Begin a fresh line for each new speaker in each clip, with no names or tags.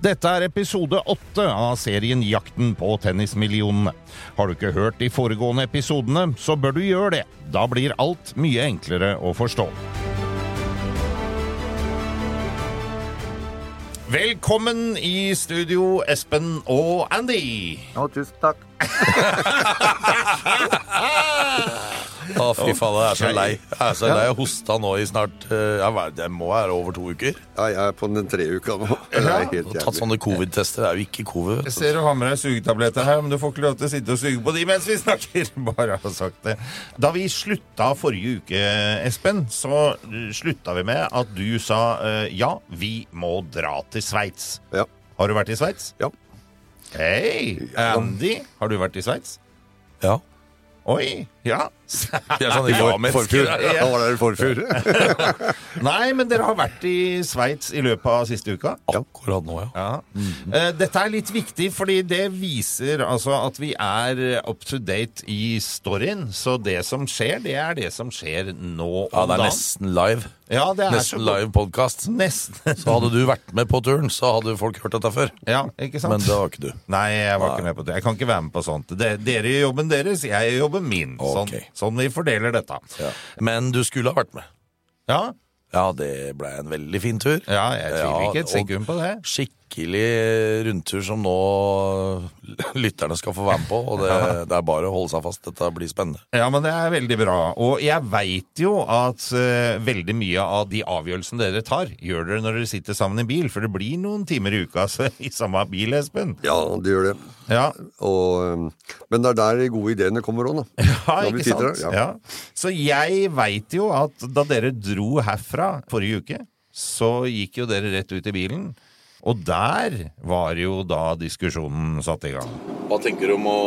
Dette er episode åtte av serien Jakten på tennismillionene. Har du ikke hørt de foregående episodene, så bør du gjøre det. Da blir alt mye enklere å forstå. Velkommen i studio, Espen og Andy.
Å, tusen takk.
Å, fy faen, jeg er så lei. Jeg er så lei. Jeg hosta nå i snart eh, jeg vet, Det må være over to uker.
Ja, jeg er på den tre uka nå. Det er helt
Og
sånn.
tatt
jævlig.
sånne covid-tester. Det er jo ikke covid.
Jeg ser du har med deg sugetabletter her, men du får ikke lov til å sitte og suge på de mens vi snakker. Bare har sagt det. Da vi slutta forrige uke, Espen, så slutta vi med at du sa eh, ja, vi må dra til Sveits.
Ja.
Har du vært i Sveits?
ja.
Hei! Andy, har du vært i Sveits?
Ja.
Oi! Ja.
Vi er sånn i for, forfjor.
Da var det forfjor.
Nei, men dere har vært i Sveits i løpet av siste uka?
Akkurat nå, ja.
Ja. Eh, Dette er litt viktig, fordi det viser altså at vi er eh, up to date i storyen. Så det som skjer, det er det som skjer nå om
Ja, det er
dagen.
nesten live.
ja, det er så
Nesten
godt.
live podkast.
Nesten.
Så hadde du vært med på turen, så hadde folk hørt dette før.
Ja, ikke sant?
Men det var ikke du.
Nei, jeg var ikke med på det. Jeg kan ikke være med på sånt. De- Dere gjør jobben deres, jeg gjør jobben min. Sånn,
Ok.
sånn vi fordeler dette.
Men du skulle ha vært med.
Ja,
Ja, det ble en veldig fin tur.
ja jeg tviler
Ja,
ikke et
og-
sekund på det.
Skikkelig rundtur som nå lytterne skal få være med på. Og det, det er bare å holde seg fast. Dette blir spennende.
Ja, men det er veldig bra. Og jeg veit jo at eh, veldig mye av de avgjørelsene dere tar, gjør dere når dere sitter sammen i bil, for det blir noen timer i uka så, i samme bil, Espen.
Ja, det gjør det.
Ja,
Og, øhm, men det er der de gode ideene kommer òg, da.
ja
Når vi
ikke
sitter
sant?
der,
ja. Så jeg veit jo at da dere dro herfra forrige uke, så gikk jo dere rett ut i bilen. Og der var jo da diskusjonen satt i gang.
Hva tenker du om å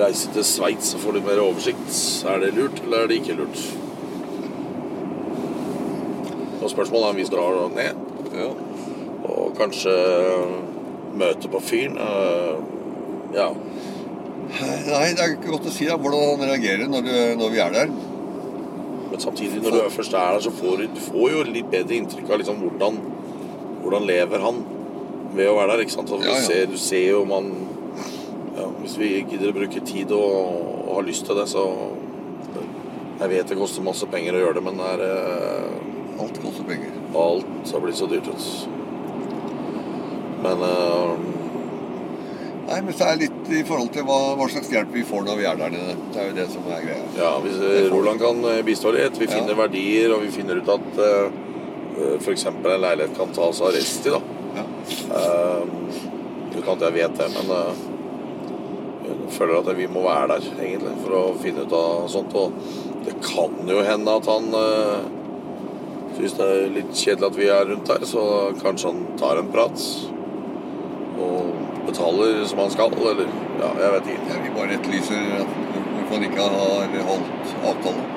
reise til Sveits og få litt mer oversikt? Er det lurt, eller er det ikke lurt? Og spørsmålet er om vi drar ned. Og kanskje møte på fyren. eh, Ja.
Nei, det er ikke godt å si da, hvordan han reagerer når, du, når vi er der.
Men samtidig, når du først er der, så får du, du får jo litt bedre inntrykk av liksom hvordan, hvordan lever han ved å være der. ikke sant? Og du,
Ja, ja.
Ser, du ser jo om han ja, Hvis vi gidder å bruke tid og, og har lyst til det, så Jeg vet det koster masse penger å gjøre det, men det er, eh,
Alt koster penger.
alt har blitt så dyrt. Vet. du. Men eh,
Nei, men så er det litt i forhold til hva, hva slags hjelp vi får når vi er der nede. Det er jo det som er greia.
ja, hvis eh, Roland kan eh, bistå litt, vi
Ja.
finner verdier, og vi finner ut at eh, f.eks. en leilighet kan tas av rest i. da.
Ja.
Eh, Uten at jeg vet det, men eh, jeg føler at vi må være der egentlig for å finne ut av sånt. Og det kan jo hende at han uh, syns det er litt kjedelig at vi er rundt her, så kanskje han tar en prat. Og betaler som han skal, eller Ja, jeg vet ikke.
Jeg vil bare etterlyse at hvorfor han ikke har holdt avtalen.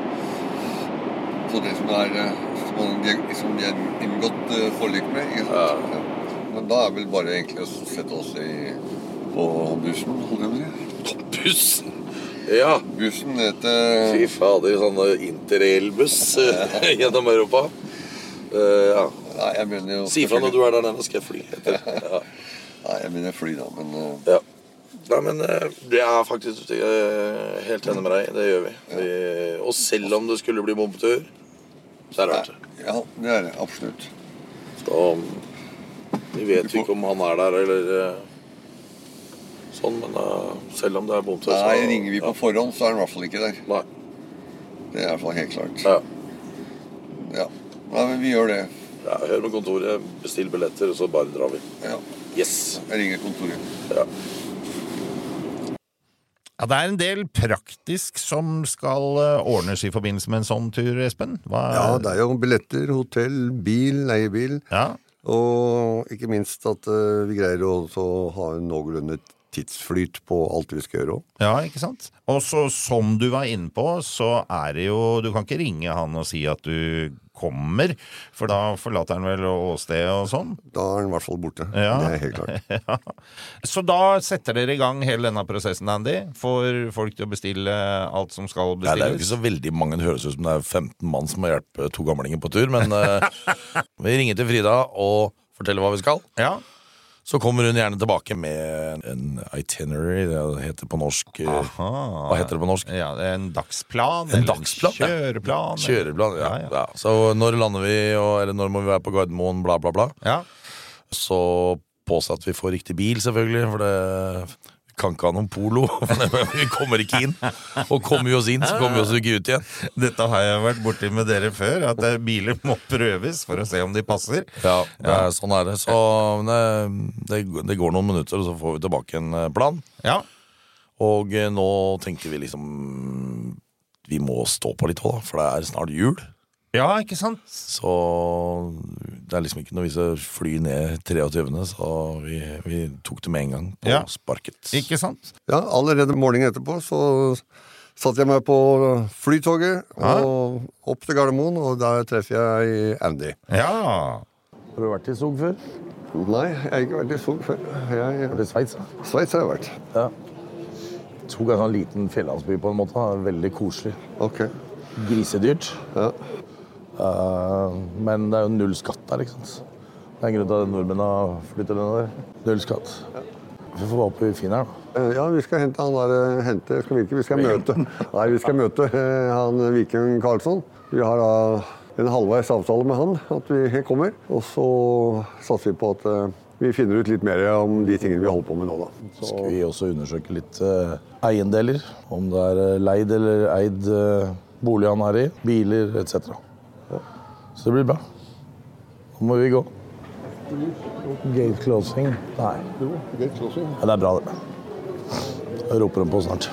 Så det som er eh, som han- de- som de har inngått eh, forlik med. Ikke sant? Ja. Men da er vel bare egentlig å sette oss i, på bussen, holder jeg på å si.
Bussen! Ja,
Bussen ned til
fy fader. Sånn eh, interrail-buss eh, gjennom Europa. Eh, ja.
Nei, jeg mener jo
Si fra når du er der nede, skal jeg fly etter. Ja.
Nei, jeg mener fly, da, men eh,
Ja. Nei, men eh, det er faktisk eh, helt enig med deg. Det gjør vi. vi. Og selv om det skulle bli bombetur, så er det verdt det.
Ja, det er det. Absolutt.
Så, um, Vi vet jo ikke om han er der eller eh, sånn, men eh, selv om det er bombetur, så
Nei, ringer vi på forhånd, så er han i hvert fall ikke der.
Ja. Nei.
Det er i hvert fall helt klart.
Ja.
Ja. Nei, men vi gjør det.
Ja, hør med kontoret, bestill billetter, og så bare drar vi.
Ja.
Yes!
Jeg ringer kontoret.
Ja.
Ja, Det er en del praktisk som skal eh, ordnes i forbindelse med en sånn tur, Espen. Hva
Ja, det er jo billetter, hotell, bil, leiebil.
Ja.
Og ikke minst at eh, vi greier å også ha en noenlunde tidsflyt på alt vi skal gjøre òg.
Ja, ikke sant? Og så som du var inne på, så er det jo Du kan ikke ringe han og si at du kommer, for da forlater han vel åstedet og sånn.
Da er den i hvert fall borte.
Ja.
Det er helt klart.
Ja. Så da setter dere i gang hele denne prosessen, Andy. Får folk til å bestille alt som skal
Nei, det er jo ikke
bestilles.
så veldig mange. Det høres ut som det er 15 mann som må hjelpe to gamlinger på tur. Men eh, vi ringer til Frida og forteller hva vi skal.
Ja,
Så kommer hun gjerne tilbake med en itinerary, det heter på norsk. eh, Hva heter det på norsk?
ja, en dagsplan.
En
eller
dagsplan, ja.
Kjøreplan. eller-
Kjøreplan. Ja,
Ja, ja.
ja. Så når lander vi, og, eller når må vi være på Gardermoen, bla, bla, bla.
Ja.
Så påse at vi får riktig bil, selvfølgelig. For det vi kan ikke ha noen polo. For det, vi kommer ikke inn. Og kommer vi oss inn, så kommer vi oss ikke ut igjen.
Dette har jeg vært borti med dere før, at eh, biler må prøves for å se om de passer.
Ja, det er, sånn er det. Så men det, det, det går noen minutter, og så får vi tilbake en eh, plan.
Ja,
Og eh, nå tenker vi liksom Vi må stå på litt òg, for det er snart jul.
ja ikke sant?
Så det er liksom ikke noe vits å fly ned 23., så vi, vi tok det med en gang. På
Ja.
sparket.
Ikke sant?
Ja, allerede morgenen etterpå så satte jeg meg på flytoget og opp til Gardermoen, og der treffer jeg Andy.
Ja.
Har du vært i Zug før?
Nei, jeg har ikke vært i Zug før. Jeg-
Sveits, da.
Sveits har jeg vært.
Zug er en sånn liten fjellandsby på en måte. da. Veldig koselig.
Ok.
Grisedyrt.
Ja.
Eh, men det er jo null skatt der, ikke sant. Det er en grunn til at nordmenn har flyttet nedover. Null skatt. Vi får håpe vi finner den. da.
Eh, Ja, vi skal hente han der eh, hente, jeg skal virke, vi skal møte Nei, vi skal møte eh, han eh, Viking Karlsson. Vi har da en halvveis avtale med han, at vi kommer. Og så satser vi på at eh, vi finner ut litt mer om de tingene vi holder på med nå, da.
Så skal vi også undersøke litt eh, eiendeler. Om det er eh, leid eller eid eh, bolig han er i. Biler etc. Så det blir bra. Nå må vi gå. Gate closing. Nei. Ja, det er bra, det. Jeg roper dem på snart.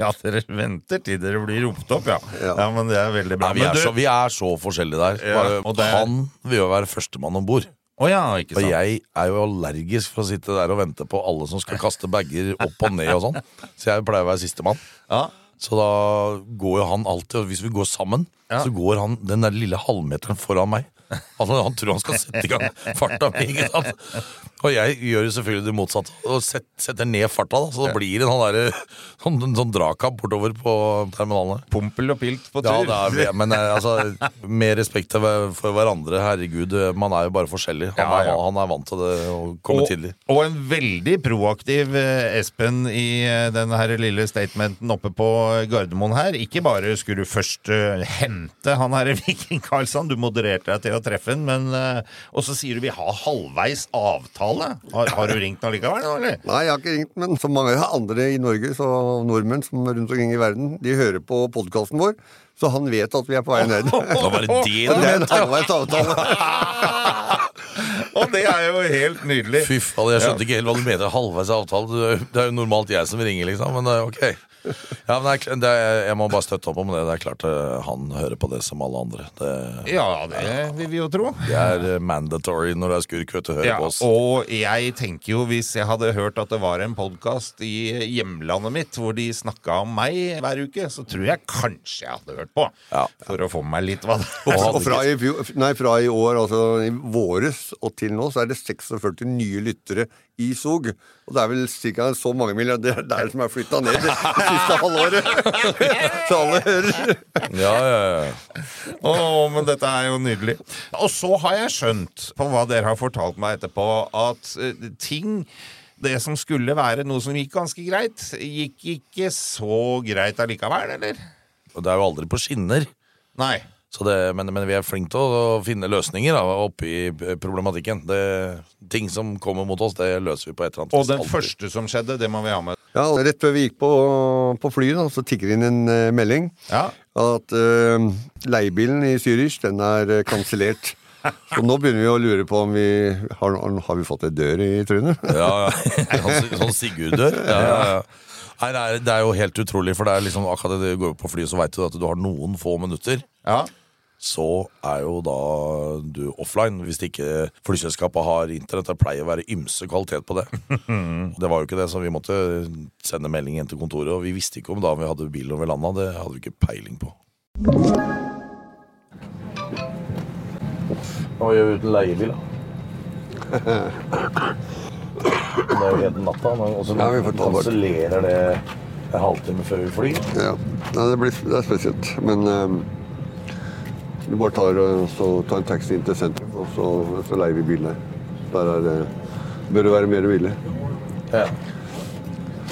Ja, dere venter til dere blir ropt opp, ja. Ja,
Ja.
men det er veldig bra.
Nei, vi,
Men
er
du-
så, vi er så forskjellige der.
Ja,
Bare,
og det-
Han vil jo være førstemann om bord.
Å ja, ikke
Og
sant.
jeg er jo allergisk for å sitte der og vente på alle som skal kaste bager opp og ned og sånn. Så jeg pleier å være sistemann.
Ja.
Så da går jo han alltid, og hvis vi går sammen,
Ja.
så går han den der lille halvmeteren foran meg. Altså, han tror han skal sette i gang farta mi, ikke sant? Og jeg gjør jo selvfølgelig det motsatte, og set, setter ned farta, da. Så det blir en sånn, derre- sånn, en sånn dragkamp bortover på terminalene.
Pompel og pilt på
Ja,
tur.
det er, vi- men eh, altså, med respekt til hver- for hverandre, herregud, man er jo bare forskjellig. Han,
Ja,
er,
ja.
han er vant til det å komme tidlig.
Og, og en veldig proaktiv eh, Espen i eh, den her lille statementen oppe på Gardermoen her. Ikke bare skulle du først eh, hente han her Viking Karlsson, du modererte deg til å treffe han, men eh, Og så sier du vi har halvveis avtale. Har, har du ringt han likevel, nå, eller?
Nei, jeg har ikke ringt, men som mange andre i Norge, så nordmenn som er rundt omkring i verden, de hører på podkasten vår, så han vet at vi er på vei ned.
Nå var det det
Og
du
det er en
mente!
halvveis avtale.
Og det er jo helt nydelig.
Fy faen, jeg skjønte ikke helt hva du mente. Halvveis avtale. Du- Det er jo normalt jeg som ringer, liksom. Men eh, ok. Ja, men det er, kl- det er, jeg må bare støtte opp om det. Det er klart eh, han hører på det som alle andre. Det,
Ja, det vil vi jo tro.
det er eh, mandatory når det er skurk, vet du. Hører
Ja,
på oss.
og jeg tenker jo hvis jeg hadde hørt at det var en podkast i hjemlandet mitt hvor de snakka om meg hver uke, så tror jeg kanskje jeg hadde hørt på.
Ja.
For å få med meg litt hva det
Og
Altså, Og
han-
fra i, fjor, nei, fra i år, altså i våres og til nå, så er det 46 nye lyttere i Zog. Og det er vel ca. så mange milliardærer der som er flytta ned det siste halvåret. Så alle hører.
Ja, ja, ja.
Å, men dette er jo nydelig. Og så har jeg skjønt på hva dere har fortalt meg etterpå, at eh, ting det som skulle være noe som gikk ganske greit, gikk ikke så greit allikevel, eller?
Og det er jo aldri på skinner.
Nei.
Så det, men, men vi er flinke til å finne løsninger da, oppi problematikken. Det, ting som kommer mot oss, det løser vi på et eller annet
Og den
Alltid.
første som skjedde, det må vi ha med.
Ja, og Rett før vi gikk på, på flyet, da, så tikker det inn en eh, melding
Ja.
at eh, leiebilen i Zürich den er eh, kansellert. Så nå begynner vi å lure på om vi har, har vi fått et dør i trynet.
Ja, ja. Sånn- Sånn Sigurd-dør. Ja, ja, ja. Nei, det er, det er jo helt utrolig, for det er liksom, akkurat det du går på flyet, så veit du at du har noen få minutter
ja.
så er jo da du offline. Hvis ikke flyselskapet har internett. Det pleier å være ymse kvalitet på det. det var jo ikke det, så vi måtte sende melding inn til kontoret. Og vi visste ikke om da vi hadde bil over landa. Det hadde vi ikke peiling på.
Hva gjør vi uten leiebil, da? Det er jo helt natta. men- Og så
Ja, vi får ta bort.
kansellerer det en halvtime før vi flyr.
Ja. Nei, det, blir, det er spesielt. Men eh, du bare tar, eh, så tar en taxi inn til sentrum, og så, så leier vi bilen her. Der er det, bør det være mer villig.
Ja.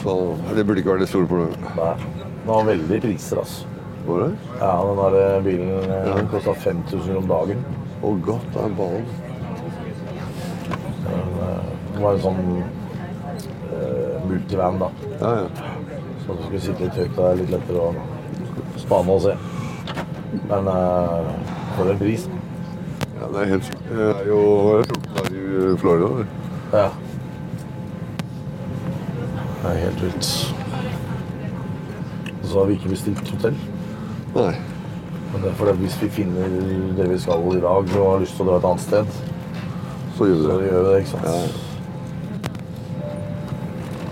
Så det burde ikke være det store problemet.
Nei. Den har veldig priser, altså.
Var det?
Ja, den der eh, bilen ja. kosta 5000 kroner om dagen.
Å godt, det er ballen.
Det var en sånn eh, multivan, da.
Ja, ja.
Så at du skulle sitte litt høyt da, er litt lettere å spane og se. Men eh, for en pris.
ja det er helt sjukt. Jeg er jo 14 år i eh, Florida. eller?
Ja. Det er helt vilt. Og så har vi ikke bestilt hotell.
Nei.
Men det er fordi at hvis vi finner det vi skal i dag og har lyst til å dra et annet sted,
Så gjør vi
så
det.
gjør vi det, ikke sant?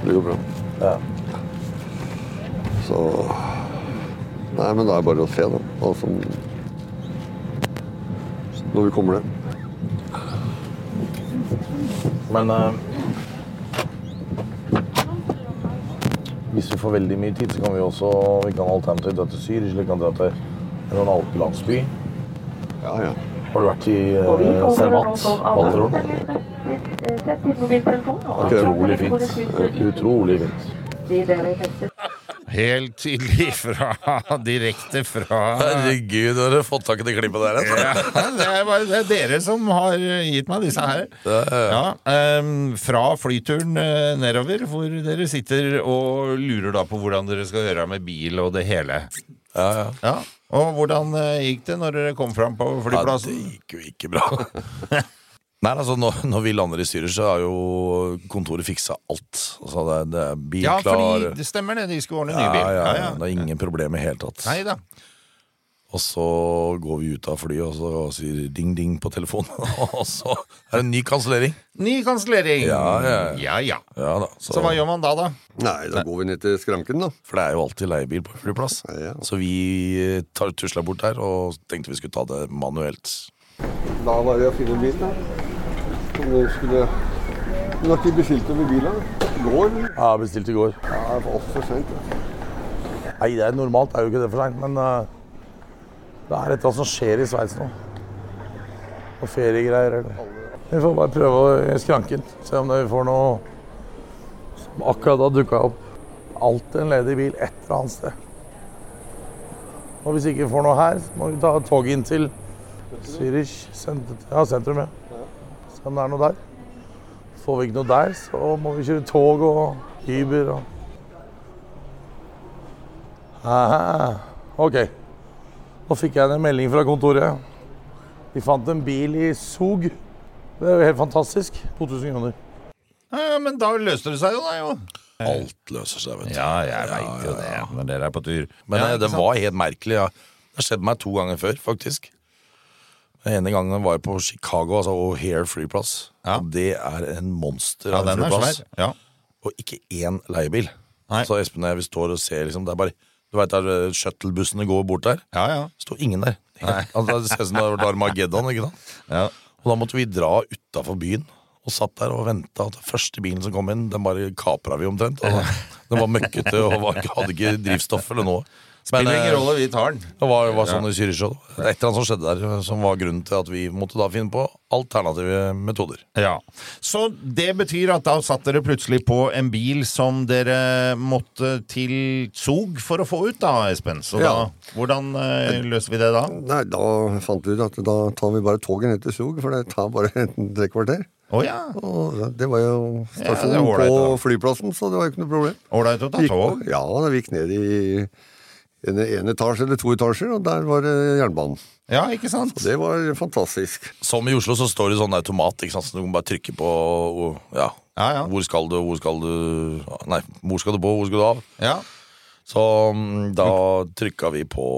Det går bra.
Ja.
Så Nei, men det er bare å se, da. Hva som Når vi kommer ned.
Men eh, hvis vi får veldig mye tid, så kan vi også vi kan alternativt dra til Zürich eller vi kan dra til en eller annen alpelandsby.
Ja, ja.
Har du vært i
Eh,
Og vi
uh,
kommer
Zermatt?
også av
Balterol?
Sett din mobiltelefon og
Utrolig fint. Eh, Utrolig fint.
Gi dere neste
Helt tydelig fra Direkte fra
Herregud, har dere fått tak i det klippet der? altså?
ja, det, er bare, det er dere som har gitt meg disse her. Ja, ehm, fra flyturen eh, nedover, hvor dere sitter og lurer da på hvordan dere skal gjøre med bil og det hele.
Ja, ja.
Ja, Og hvordan eh, gikk det når dere kom fram på flyplassen?
Ja, det gikk jo ikke bra. Nei, altså når, når vi lander i Syrer, så har jo kontoret fiksa alt. Altså, det, er- det er bil
Ja,
klar
fordi det stemmer det. De skulle ordne
ja,
ny bil.
ja,
Ja,
ja.
ja.
Det er ingen problem i hele tatt.
Nei da.
Og så går vi ut av flyet, og så sier ding-ding på telefonen. og så er det en ny kansellering.
Ny kansellering!
Ja, ja,
ja, ja.
Ja da. Så,
Så hva gjør man da, da?
Nei, da går vi ned til skranken, da.
for det er jo alltid leiebil på flyplass.
Ja.
Så vi tar tusla bort der, og tenkte vi skulle ta det manuelt.
Da var det å finne en bil, da. Som vi skulle Du har ikke bestilt over bilen? Går? Ja,
Ja, bestilt i går.
det var altfor sent. ja.
Nei, det er normalt, er jo ikke det for seint, men eh, det er et eller annet som skjer i Sveits nå. Og feriegreier eller Vi får bare prøve å skranken, se om det- vi får noe som Akkurat da dukka opp alltid en ledig bil et eller annet sted. Og hvis ikke vi får noe her, så må vi ta toget inn til Zürich sent- ja, sentrum. Ja. Se om det er noe der. Får vi ikke noe der, så må vi kjøre tog og Uber og Aha. Ok. Nå fikk jeg en melding fra kontoret. De fant en bil i Zug. Det er jo helt fantastisk. 2000 kroner.
Ja, ja, men da løste det seg jo, da. jo.
Alt løser seg, vet du.
Ja, jeg veit jo det når dere er på tur.
Men
ja,
eh,
ikke
den
sant?
var helt merkelig. Ja. Det har skjedd meg to ganger før, faktisk. Den ene gangen var jeg på Chicago, altså O'Hare flyplass.
Ja.
Og det er en monster
ja,
av en
den er
flyplass.
svær. Ja.
Og ikke én leiebil.
Nei.
Så Espen og jeg vi står og ser, liksom. Det er bare Du veit der eh, shuttlebussene går bort der?
Ja, ja.
Står ingen der. Altså, det ser ut som det har vært Armageddon, ikke sant?
ja.
Og da måtte vi dra utafor byen og satt der og venta. Den første bilen som kom inn, den bare kapra vi omtrent. Altså, den var møkkete og var, ikke- hadde ikke drivstoff eller noe. Men,
Spiller ingen
eh,
rolle, vi tar den.
Det var, var sånn i Syrisjå. Det er et eller annet som skjedde der som var grunnen til at vi måtte da finne på alternative metoder.
Ja, Så det betyr at da satt dere plutselig på en bil som dere måtte til Zug for å få ut, da, Espen. Så da,
Ja.
hvordan eh, løser vi det da?
Nei, da fant vi ut at da tar vi bare toget ned til Zug, for det tar bare en tre kvarter.
Å ja,
Og det var jo
Ja, det
stasjonen
er ålreit,
på
da.
flyplassen, så det var jo ikke noe problem.
ålreit å ta
Gikk på-
tog.
Ja, da vi gikk ned i en, en etasje eller to etasjer, og der var det jernbanen.
Ja, ikke sant?
Det var fantastisk.
Som i Oslo så står det sånn automat, ikke sant? så du kan bare trykke på og, ja.
Ja, ja.
Hvor skal du, hvor skal du Nei, hvor skal du på, hvor skal du av?
Ja.
Så mm, da trykka vi på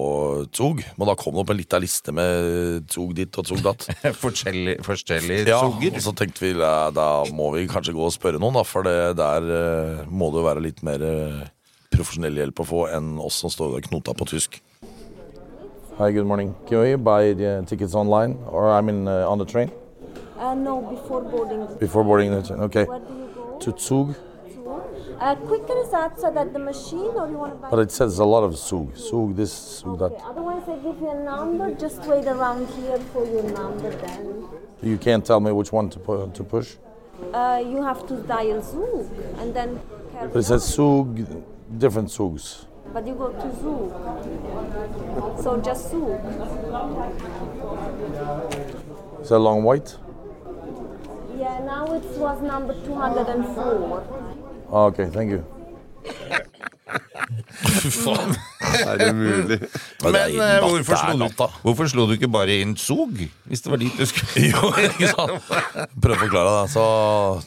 Zug, men da kom det opp en lita liste med Zug ditt og Zug datt.
Forskjellig, forskjellig
Ja,
suger.
og så tenkte vi ja, da må vi kanskje gå og spørre noen, da, for det der eh, må det jo være litt mer eh, profesjonell hjelp å få enn oss som står og knoter på tysk.
Hi, good morning. Can we buy the uh, tickets online or I mean uh, on the train
Uh, no, before boarding the
before boarding the train? Okay.
Where do you go?
To Zug,
tour. Uh, quicker is outside at the machine, or you want to buy?
but it says a lot of Zug. Zug this, Zug that.
okay. Otherwise, I give you a number. Just wait around here for your number. Then
You can't tell me which one to, pu- to push.
uh, you have to dial Zoom and then. carry
But it says
on.
Zug, different Zugs.
But you go to Zoom. So just Zoom.
Is that long wait?
Yeah. Now it was number 204.
Ah, okay, thank you.
Er det mulig?
Men det er
Men eh,
natt-
hvorfor,
det er
slo du,
natta.
hvorfor slo du ikke bare inn Zug? Hvis det var dit du skulle?
Jo, ikke sant? Prøv å forklare det. Så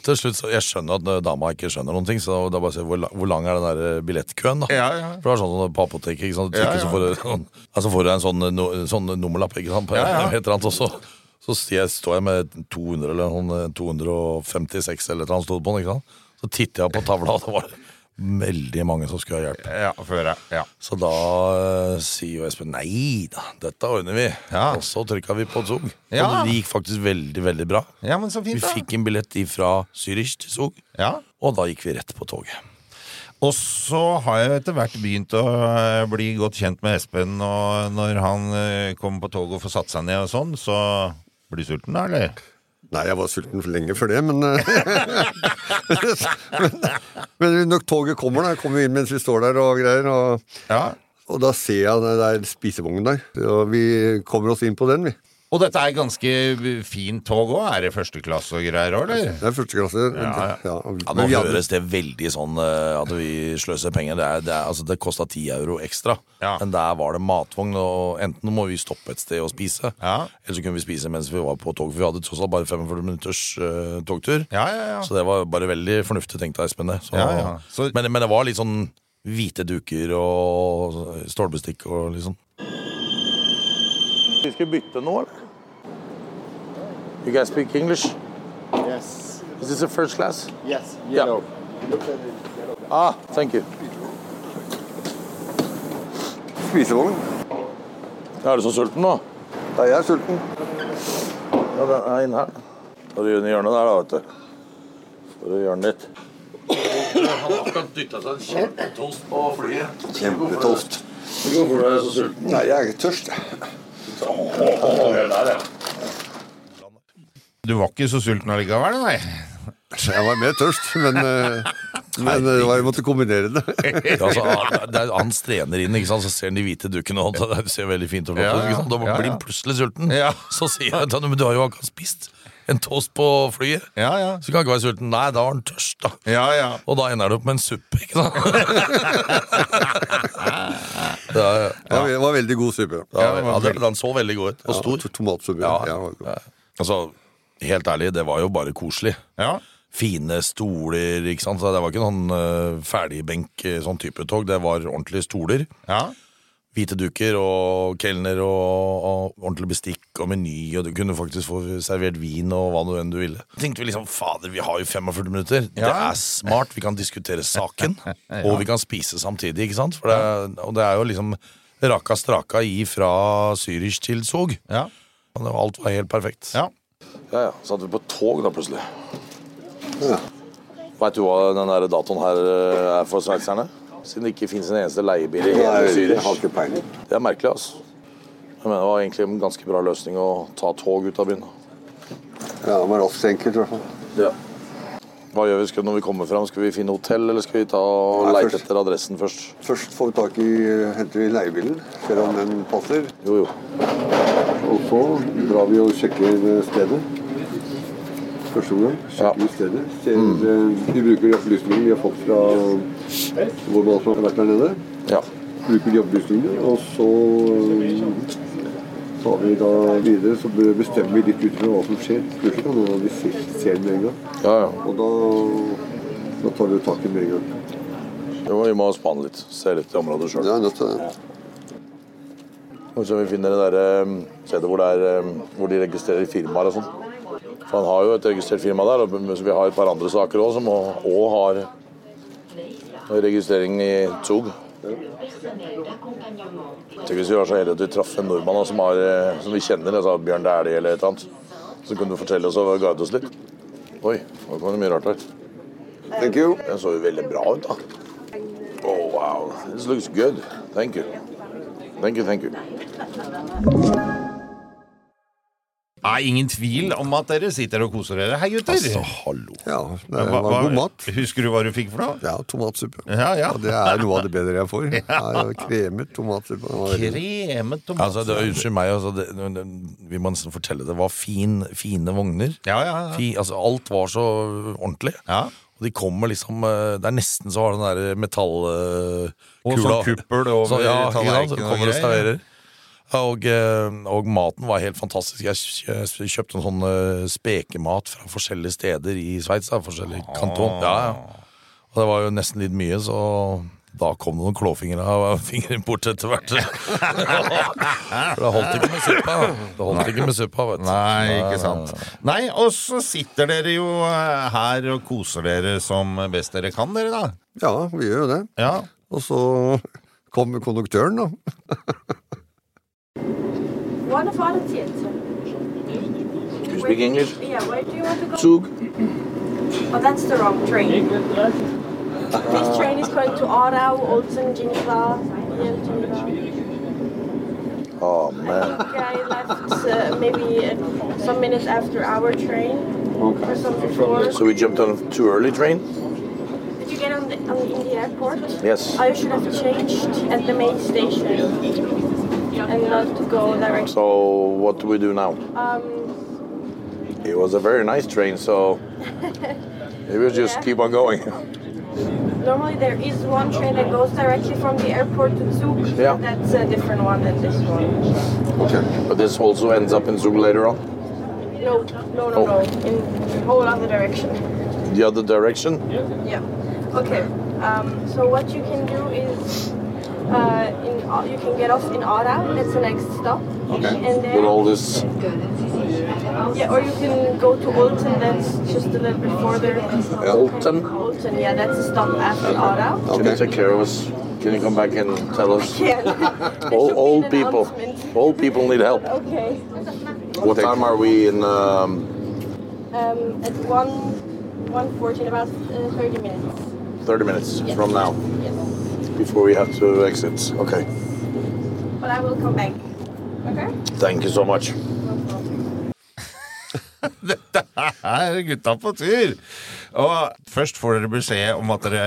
til slutt, så jeg skjønner at eh, dama ikke skjønner noen ting, så da bare se hvor, la- hvor lang er den der eh, billettkøen, da.
Ja, ja.
For det er sånn som på apoteket, ikke sant. Du
Ja,
trykker,
ja.
Så, får du, sånn, ja, så får du en sånn, eh, no, sånn nummerlapp, ikke sant, på
Ja, ja.
et eller annet, og så, så sier jeg, står jeg med 200 eller sånn, eh, noen 256 eller et eller annet stod på den, ikke sant. Så titter jeg på tavla, og det var veldig mange som skulle ha hjelp.
Ja, før jeg, ja.
Så da eh, sier jo Espen nei da, dette ordner vi.
Ja.
Og så trykka vi på Zug.
Ja.
Og det gikk faktisk veldig, veldig bra.
ja, men så
Vi
fint, da.
fikk en billett fra Zürich til Zug,
Ja.
og da gikk vi rett på toget.
Og så har jeg etter hvert begynt å eh, bli godt kjent med Espen, og når han eh, kommer på toget og får satt seg ned og sånn, så blir du sulten, da, eller?
Nei, jeg var sulten lenge før det, men eh, Men, men når toget kommer, da, kommer vi inn mens vi står der og greier, og,
Ja.
og da ser jeg det er spisevognen der, og vi kommer oss inn på den, vi.
Og dette er ganske fint tog òg? Er det første klasse og greier òg, eller?
Det er første klasse.
Ja, ja.
Ja, nå
men vi hadde-
høres det veldig sånn eh, at vi sløser penger. Det, er, det, er, altså, det kosta ti euro ekstra,
Ja.
men der var det matvogn, og enten må vi stoppe et sted og spise,
Ja.
eller så kunne vi spise mens vi var på tog, for vi hadde tross alt bare 45 minutters eh, togtur.
Ja, ja, ja.
Så det var bare veldig fornuftig tenkt av Espen. det. Så,
Ja, ja. Så-
men, men det var litt sånn hvite duker og stålbestikk og liksom.
Vi skal bytte nå, eller? You guys speak English?
Yes.
Is this a first class?
Yes.
Yeah.
Yellow.
Ah, thank you.
Spisevogn.
Er du så sulten nå?
Ja, jeg er sulten.
Ja, den er inne her. Får du gjøre den i hjørnet der, da, vet du. Får du gjøre den litt.
Han har akkurat dytta seg en kjempetoast på flyet.
Kjempetoast.
Hvorfor er du så sulten?
Nei, jeg er ikke tørst. jeg.
altså,
Du var ikke så sulten allikevel, nei?
Jeg var mer tørst, men, eh, men eh, det var, jeg måtte kombinere det.
Ja, altså, han, det er, han strener inn, ikke sant? så ser han de hvite dukkene, og det ser veldig fint og flott
Ja,
ut.
ja.
ikke sant? Da
Ja,
blir
ja.
han plutselig sulten.
Ja.
Så sier jeg til ham men du har jo akkurat spist en toast på flyet.
Ja, ja.
Så kan han ikke være sulten. Nei, da var han tørst, da.
Ja, ja.
Og da ender det opp med en suppe, ikke sant? ja, ja.
Det var- det var veldig god suppe.
Ja, ja, den- den så veldig god ut, og
Ja,
stor.
to- Tomatsuppe.
Ja.
Ja, det var
Ja.
godt.
Altså, helt ærlig, det var jo bare koselig.
ja.
Fine stoler, ikke sant. Så Det var ikke noen eh, ferdigbenk, eh, sånn type tog. Det var ordentlige stoler.
ja.
Hvite duker og kelner og, og ordentlig bestikk og meny, og du kunne faktisk få servert vin og hva nå enn du ville. Tenkte vi liksom fader, vi har jo 45 minutter. Det
Ja.
er smart. Vi kan diskutere saken, og vi kan spise samtidig, ikke sant. For det, er- og det er jo liksom raka straka i fra Zürich til Zug.
ja.
Og det var- Alt var helt perfekt.
ja.
Ja, ja. Satt vi på tog da, plutselig.
Ja.
Veit du hva den der datoen her eh, er for sveitserne? Siden det ikke fins en eneste leiebil i hele
Nei, jeg
Zürich.
har ikke peiling.
Det er merkelig, altså. Jeg mener, Det var egentlig en ganske bra løsning å ta tog ut av byen.
Ja, det var raskt enkelt, i hvert fall.
Ja. Hva gjør vi skal, når vi kommer fram? Skal vi finne hotell, eller skal vi ta og
Nei,
leite
først-
etter adressen først?
Først får vi tak i eh, henter vi leiebilen, ser om den passer.
Jo, jo.
Og så drar vi og sjekker eh, stedet. Første omgang sjekker
Ja.
vi stedet. Ser, eh, Vi bruker de opplysningene vi har fått fra hvor man har vært der nede.
Ja.
Bruker de opplysningene, og så eh, tar vi da videre. Så be- bestemmer vi litt ut fra hva som skjer. Plutselig kan noen av de se- se den med en gang.
ja, ja.
Og da, da tar vi tak i den med en gang.
Jo, vi må spanne litt. Se litt i området sjøl.
Ja, nødt til det.
Kanskje vi finner det der, eh, stedet hvor, det er, eh, hvor de registrerer firmaer og sånn. For han har jo et registrert firma der, og vi har et par andre saker òg som òg har registrering i Zug. Jeg tenker Hvis vi var så heldige at vi traff en nordmann da, som, har, eh, som vi kjenner, altså Bjørn Dæhlie eller et eller annet, så kunne du fortelle oss og guide oss litt. Oi, nå kom det mye rart her.
Thank you.
Den så jo veldig bra ut, da. Oh, wow. This looks good. Thank you. Thank you, thank you.
Det er ingen tvil om at dere sitter og koser dere. Hei, gutter!
Altså, hallo.
Ja, det var god mat.
Husker du hva du fikk for noe?
Ja, tomatsuppe.
Ja, ja.
Og det er noe av det bedre jeg får. Ja, ja, kremet tomatsuppe. Det var veldig godt.
Kremet tomat.
Altså, det, unnskyld meg, altså, det, det- det- vi må nesten fortelle det var fin, fine vogner.
Ja, ja, ja.
Fi, altså, alt var så ordentlig.
Ja.
Og de kommer liksom eh, Det er nesten så har den der eh, metallkula
Og sånn kuppel over
ja, ikke sant?
tallerkenen og
Kommer og
greier.
serverer. Ja, Og, eh, og maten var helt fantastisk. Jeg kj- kj- kjøpte en sånn eh, spekemat fra forskjellige steder i Sveits. da, Forskjellige kanton. Ja, ja. Og det var jo nesten litt mye, så da kom det noen klåfingre av fingeren bort etter hvert. For det holdt ikke med suppa. Det holdt ikke med suppa, vet du.
Nei, ikke sant. Nei, og så sitter dere jo eh, her og koser dere som best dere kan, dere, da.
Ja, vi gjør jo det.
Ja.
Og så kommer konduktøren, da.
One of our theater.
You speak English?
Yeah, where do you want to go?
Zug.
Oh, that's the wrong train. This train is going to Orau, Olsen, Geneva, near Geneva.
Oh,
I
man.
think I left uh, maybe uh, some minutes after our train. Or some before.
So we jumped on too early train?
Did you get on the, on in the airport?
Yes.
I should have changed at the main station and not to go direct.
So what do we do now?
Um,
It was a very nice train, so maybe we just
Yeah.
keep on going.
normally there is one train that goes directly from the airport to Zug.
Yeah.
That's a different one than this one.
But this also ends up in Zug later on.
No, no, no, no.
Oh.
In whole other direction.
The other direction?
Yeah. Okay. Um, so what you can do is uh, in, Au- you can get off in Aarau. That's the next stop. Okay. And then
With all this.
Yeah, or you can go to Olten, that's just a little bit further.
Olten?
Olten, yeah, that's a stop after Ara.
Can you take care of us? Can you come back and tell us?
Yeah. there should be
Old,
an
old people.
announcement.
Old people need help.
Okay.
What time are we in? Um,
Um, at 1, 1.40, in about uh, 30 minutes.
30 minutes from now,
Yes.
before we have to exit. Okay.
But I will come back. Okay?
Thank you so much.
Dette er gutta på tur! Og først får dere beskjed om at dere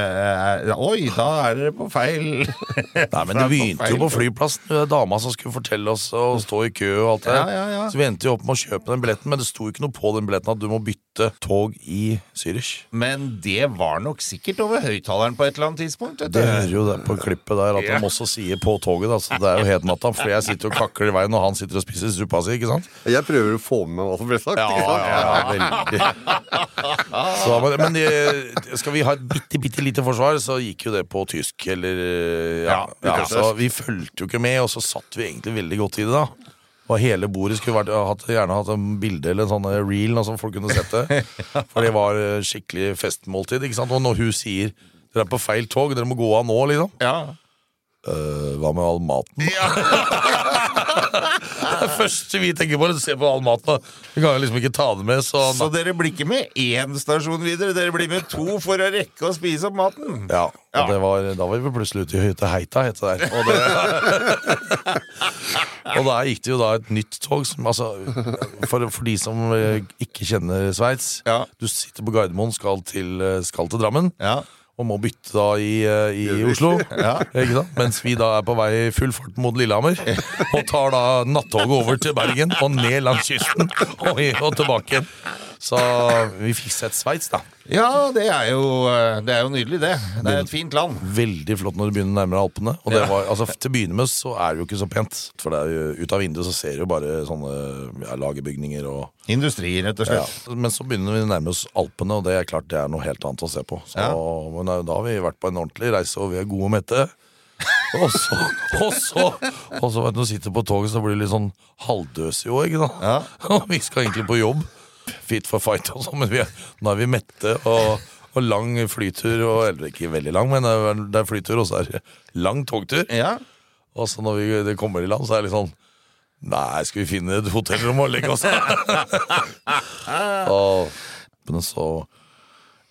er Oi, da er dere på feil
Nei, men
Fra
Det
på
begynte jo
feil- Mm.
på flyplassen med dama som skulle fortelle oss å stå i kø. og alt det
Ja,
her.
ja, ja.
Så vi endte jo opp med å kjøpe den billetten, men det sto ikke noe på den billetten at du må bytte tog i Zürich.
Men det var nok sikkert over høyttaleren på et eller annet tidspunkt. vet du.
Det hører jo det på klippet der at
Ja.
han også sier på toget. Da, så det er jo helt natta, for jeg sitter og kakler i veien, og han sitter og spiser suppa si. ikke sant?
Jeg prøver å få med meg hva som ble sagt.
Ja,
ikke sant?
ja, ja, veldig. Så, men men eh, skal vi ha et bitte, bitte lite forsvar, så gikk jo det på tysk, eller eh, Ja.
Ja,
ja,
utenlandsk.
så vi fulgte jo ikke med, og så satt vi egentlig veldig godt i det, da. Og hele bordet skulle vært, hatt, gjerne hatt en bilde eller en sånn eh, reel, noe som folk kunne sett det. For det var eh, skikkelig festmåltid. ikke sant? Og når hun sier 'dere er på feil tog, dere må gå av nå', liksom.
Ja.
Øh, hva med all maten? det første vi tenker på, er å se på all maten. og Vi kan jo liksom ikke ta det med, så,
Så dere blir ikke med én stasjon videre, dere blir med to for å rekke å spise opp maten.
ja, og
Mm. Ja.
Det var, Da var vi plutselig ute i Høyteheita, het det der. Og, det, og der gikk det jo da et nytt tog som altså, for, for de som eh, ikke kjenner Sveits
Ja.
Du sitter på Gardermoen, skal til, eh, skal til Drammen.
Ja.
Og må bytte da i, eh, i Oslo. Ikke sant? Mens vi da er på vei i full fart mot Lillehammer. Og tar da nattoget over til Bergen og ned langs kysten og, i- og tilbake igjen. Så vi fikk sett Sveits, da.
Ja, det er, jo, eh, det er jo nydelig, det. Det er et fint land.
Veldig flott når du begynner nærmere Alpene. Og det var, altså, til å begynne med så er det jo ikke så pent. For det er jo, ut av vinduet så ser du jo bare sånne ja, lagerbygninger og
Industri, rett og
ja.
slett.
Men så begynner vi å nærme oss Alpene, og det er klart det er noe helt annet å se på. Så, Men da har vi vært på en ordentlig reise, og vi er gode og mette. og så, og så, og så vet du, når du sitter på toget, så blir du litt sånn halvdøs i år. Ikke sant? Og vi skal egentlig på jobb, fit for fight og sånn, men vi er, nå er vi mette og, og lang flytur. Og, eller ikke veldig lang, men det er, det er flytur, og så er det lang togtur.
Ja.
Og så når vi det kommer i land, så er det litt sånn Nei, skal vi finne et hotellrom og legge oss Og men så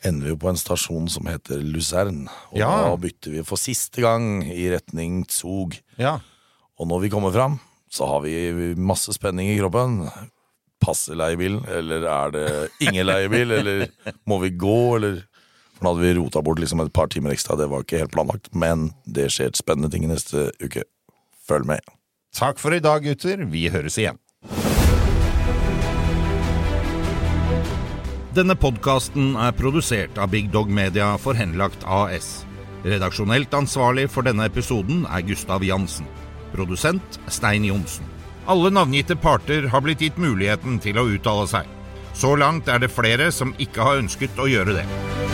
ender vi jo på en stasjon som heter Luzern. Og
Ja.
da bytter vi for siste gang i retning Zug.
Ja.
Og når vi kommer fram, så har vi masse spenning i kroppen. Passer leiebilen, eller er det ingen leiebil, eller må vi gå, eller For nå hadde vi rota bort liksom et par timer ekstra, det var ikke helt planlagt, men det skjer spennende ting i neste uke. Følg med.
Takk for i dag, gutter. Vi høres igjen. Denne podkasten er produsert av Big Dog Media for Henlagt AS. Redaksjonelt ansvarlig for denne episoden er Gustav Jansen. Produsent Stein Johnsen. Alle navngitte parter har blitt gitt muligheten til å uttale seg. Så langt er det flere som ikke har ønsket å gjøre det.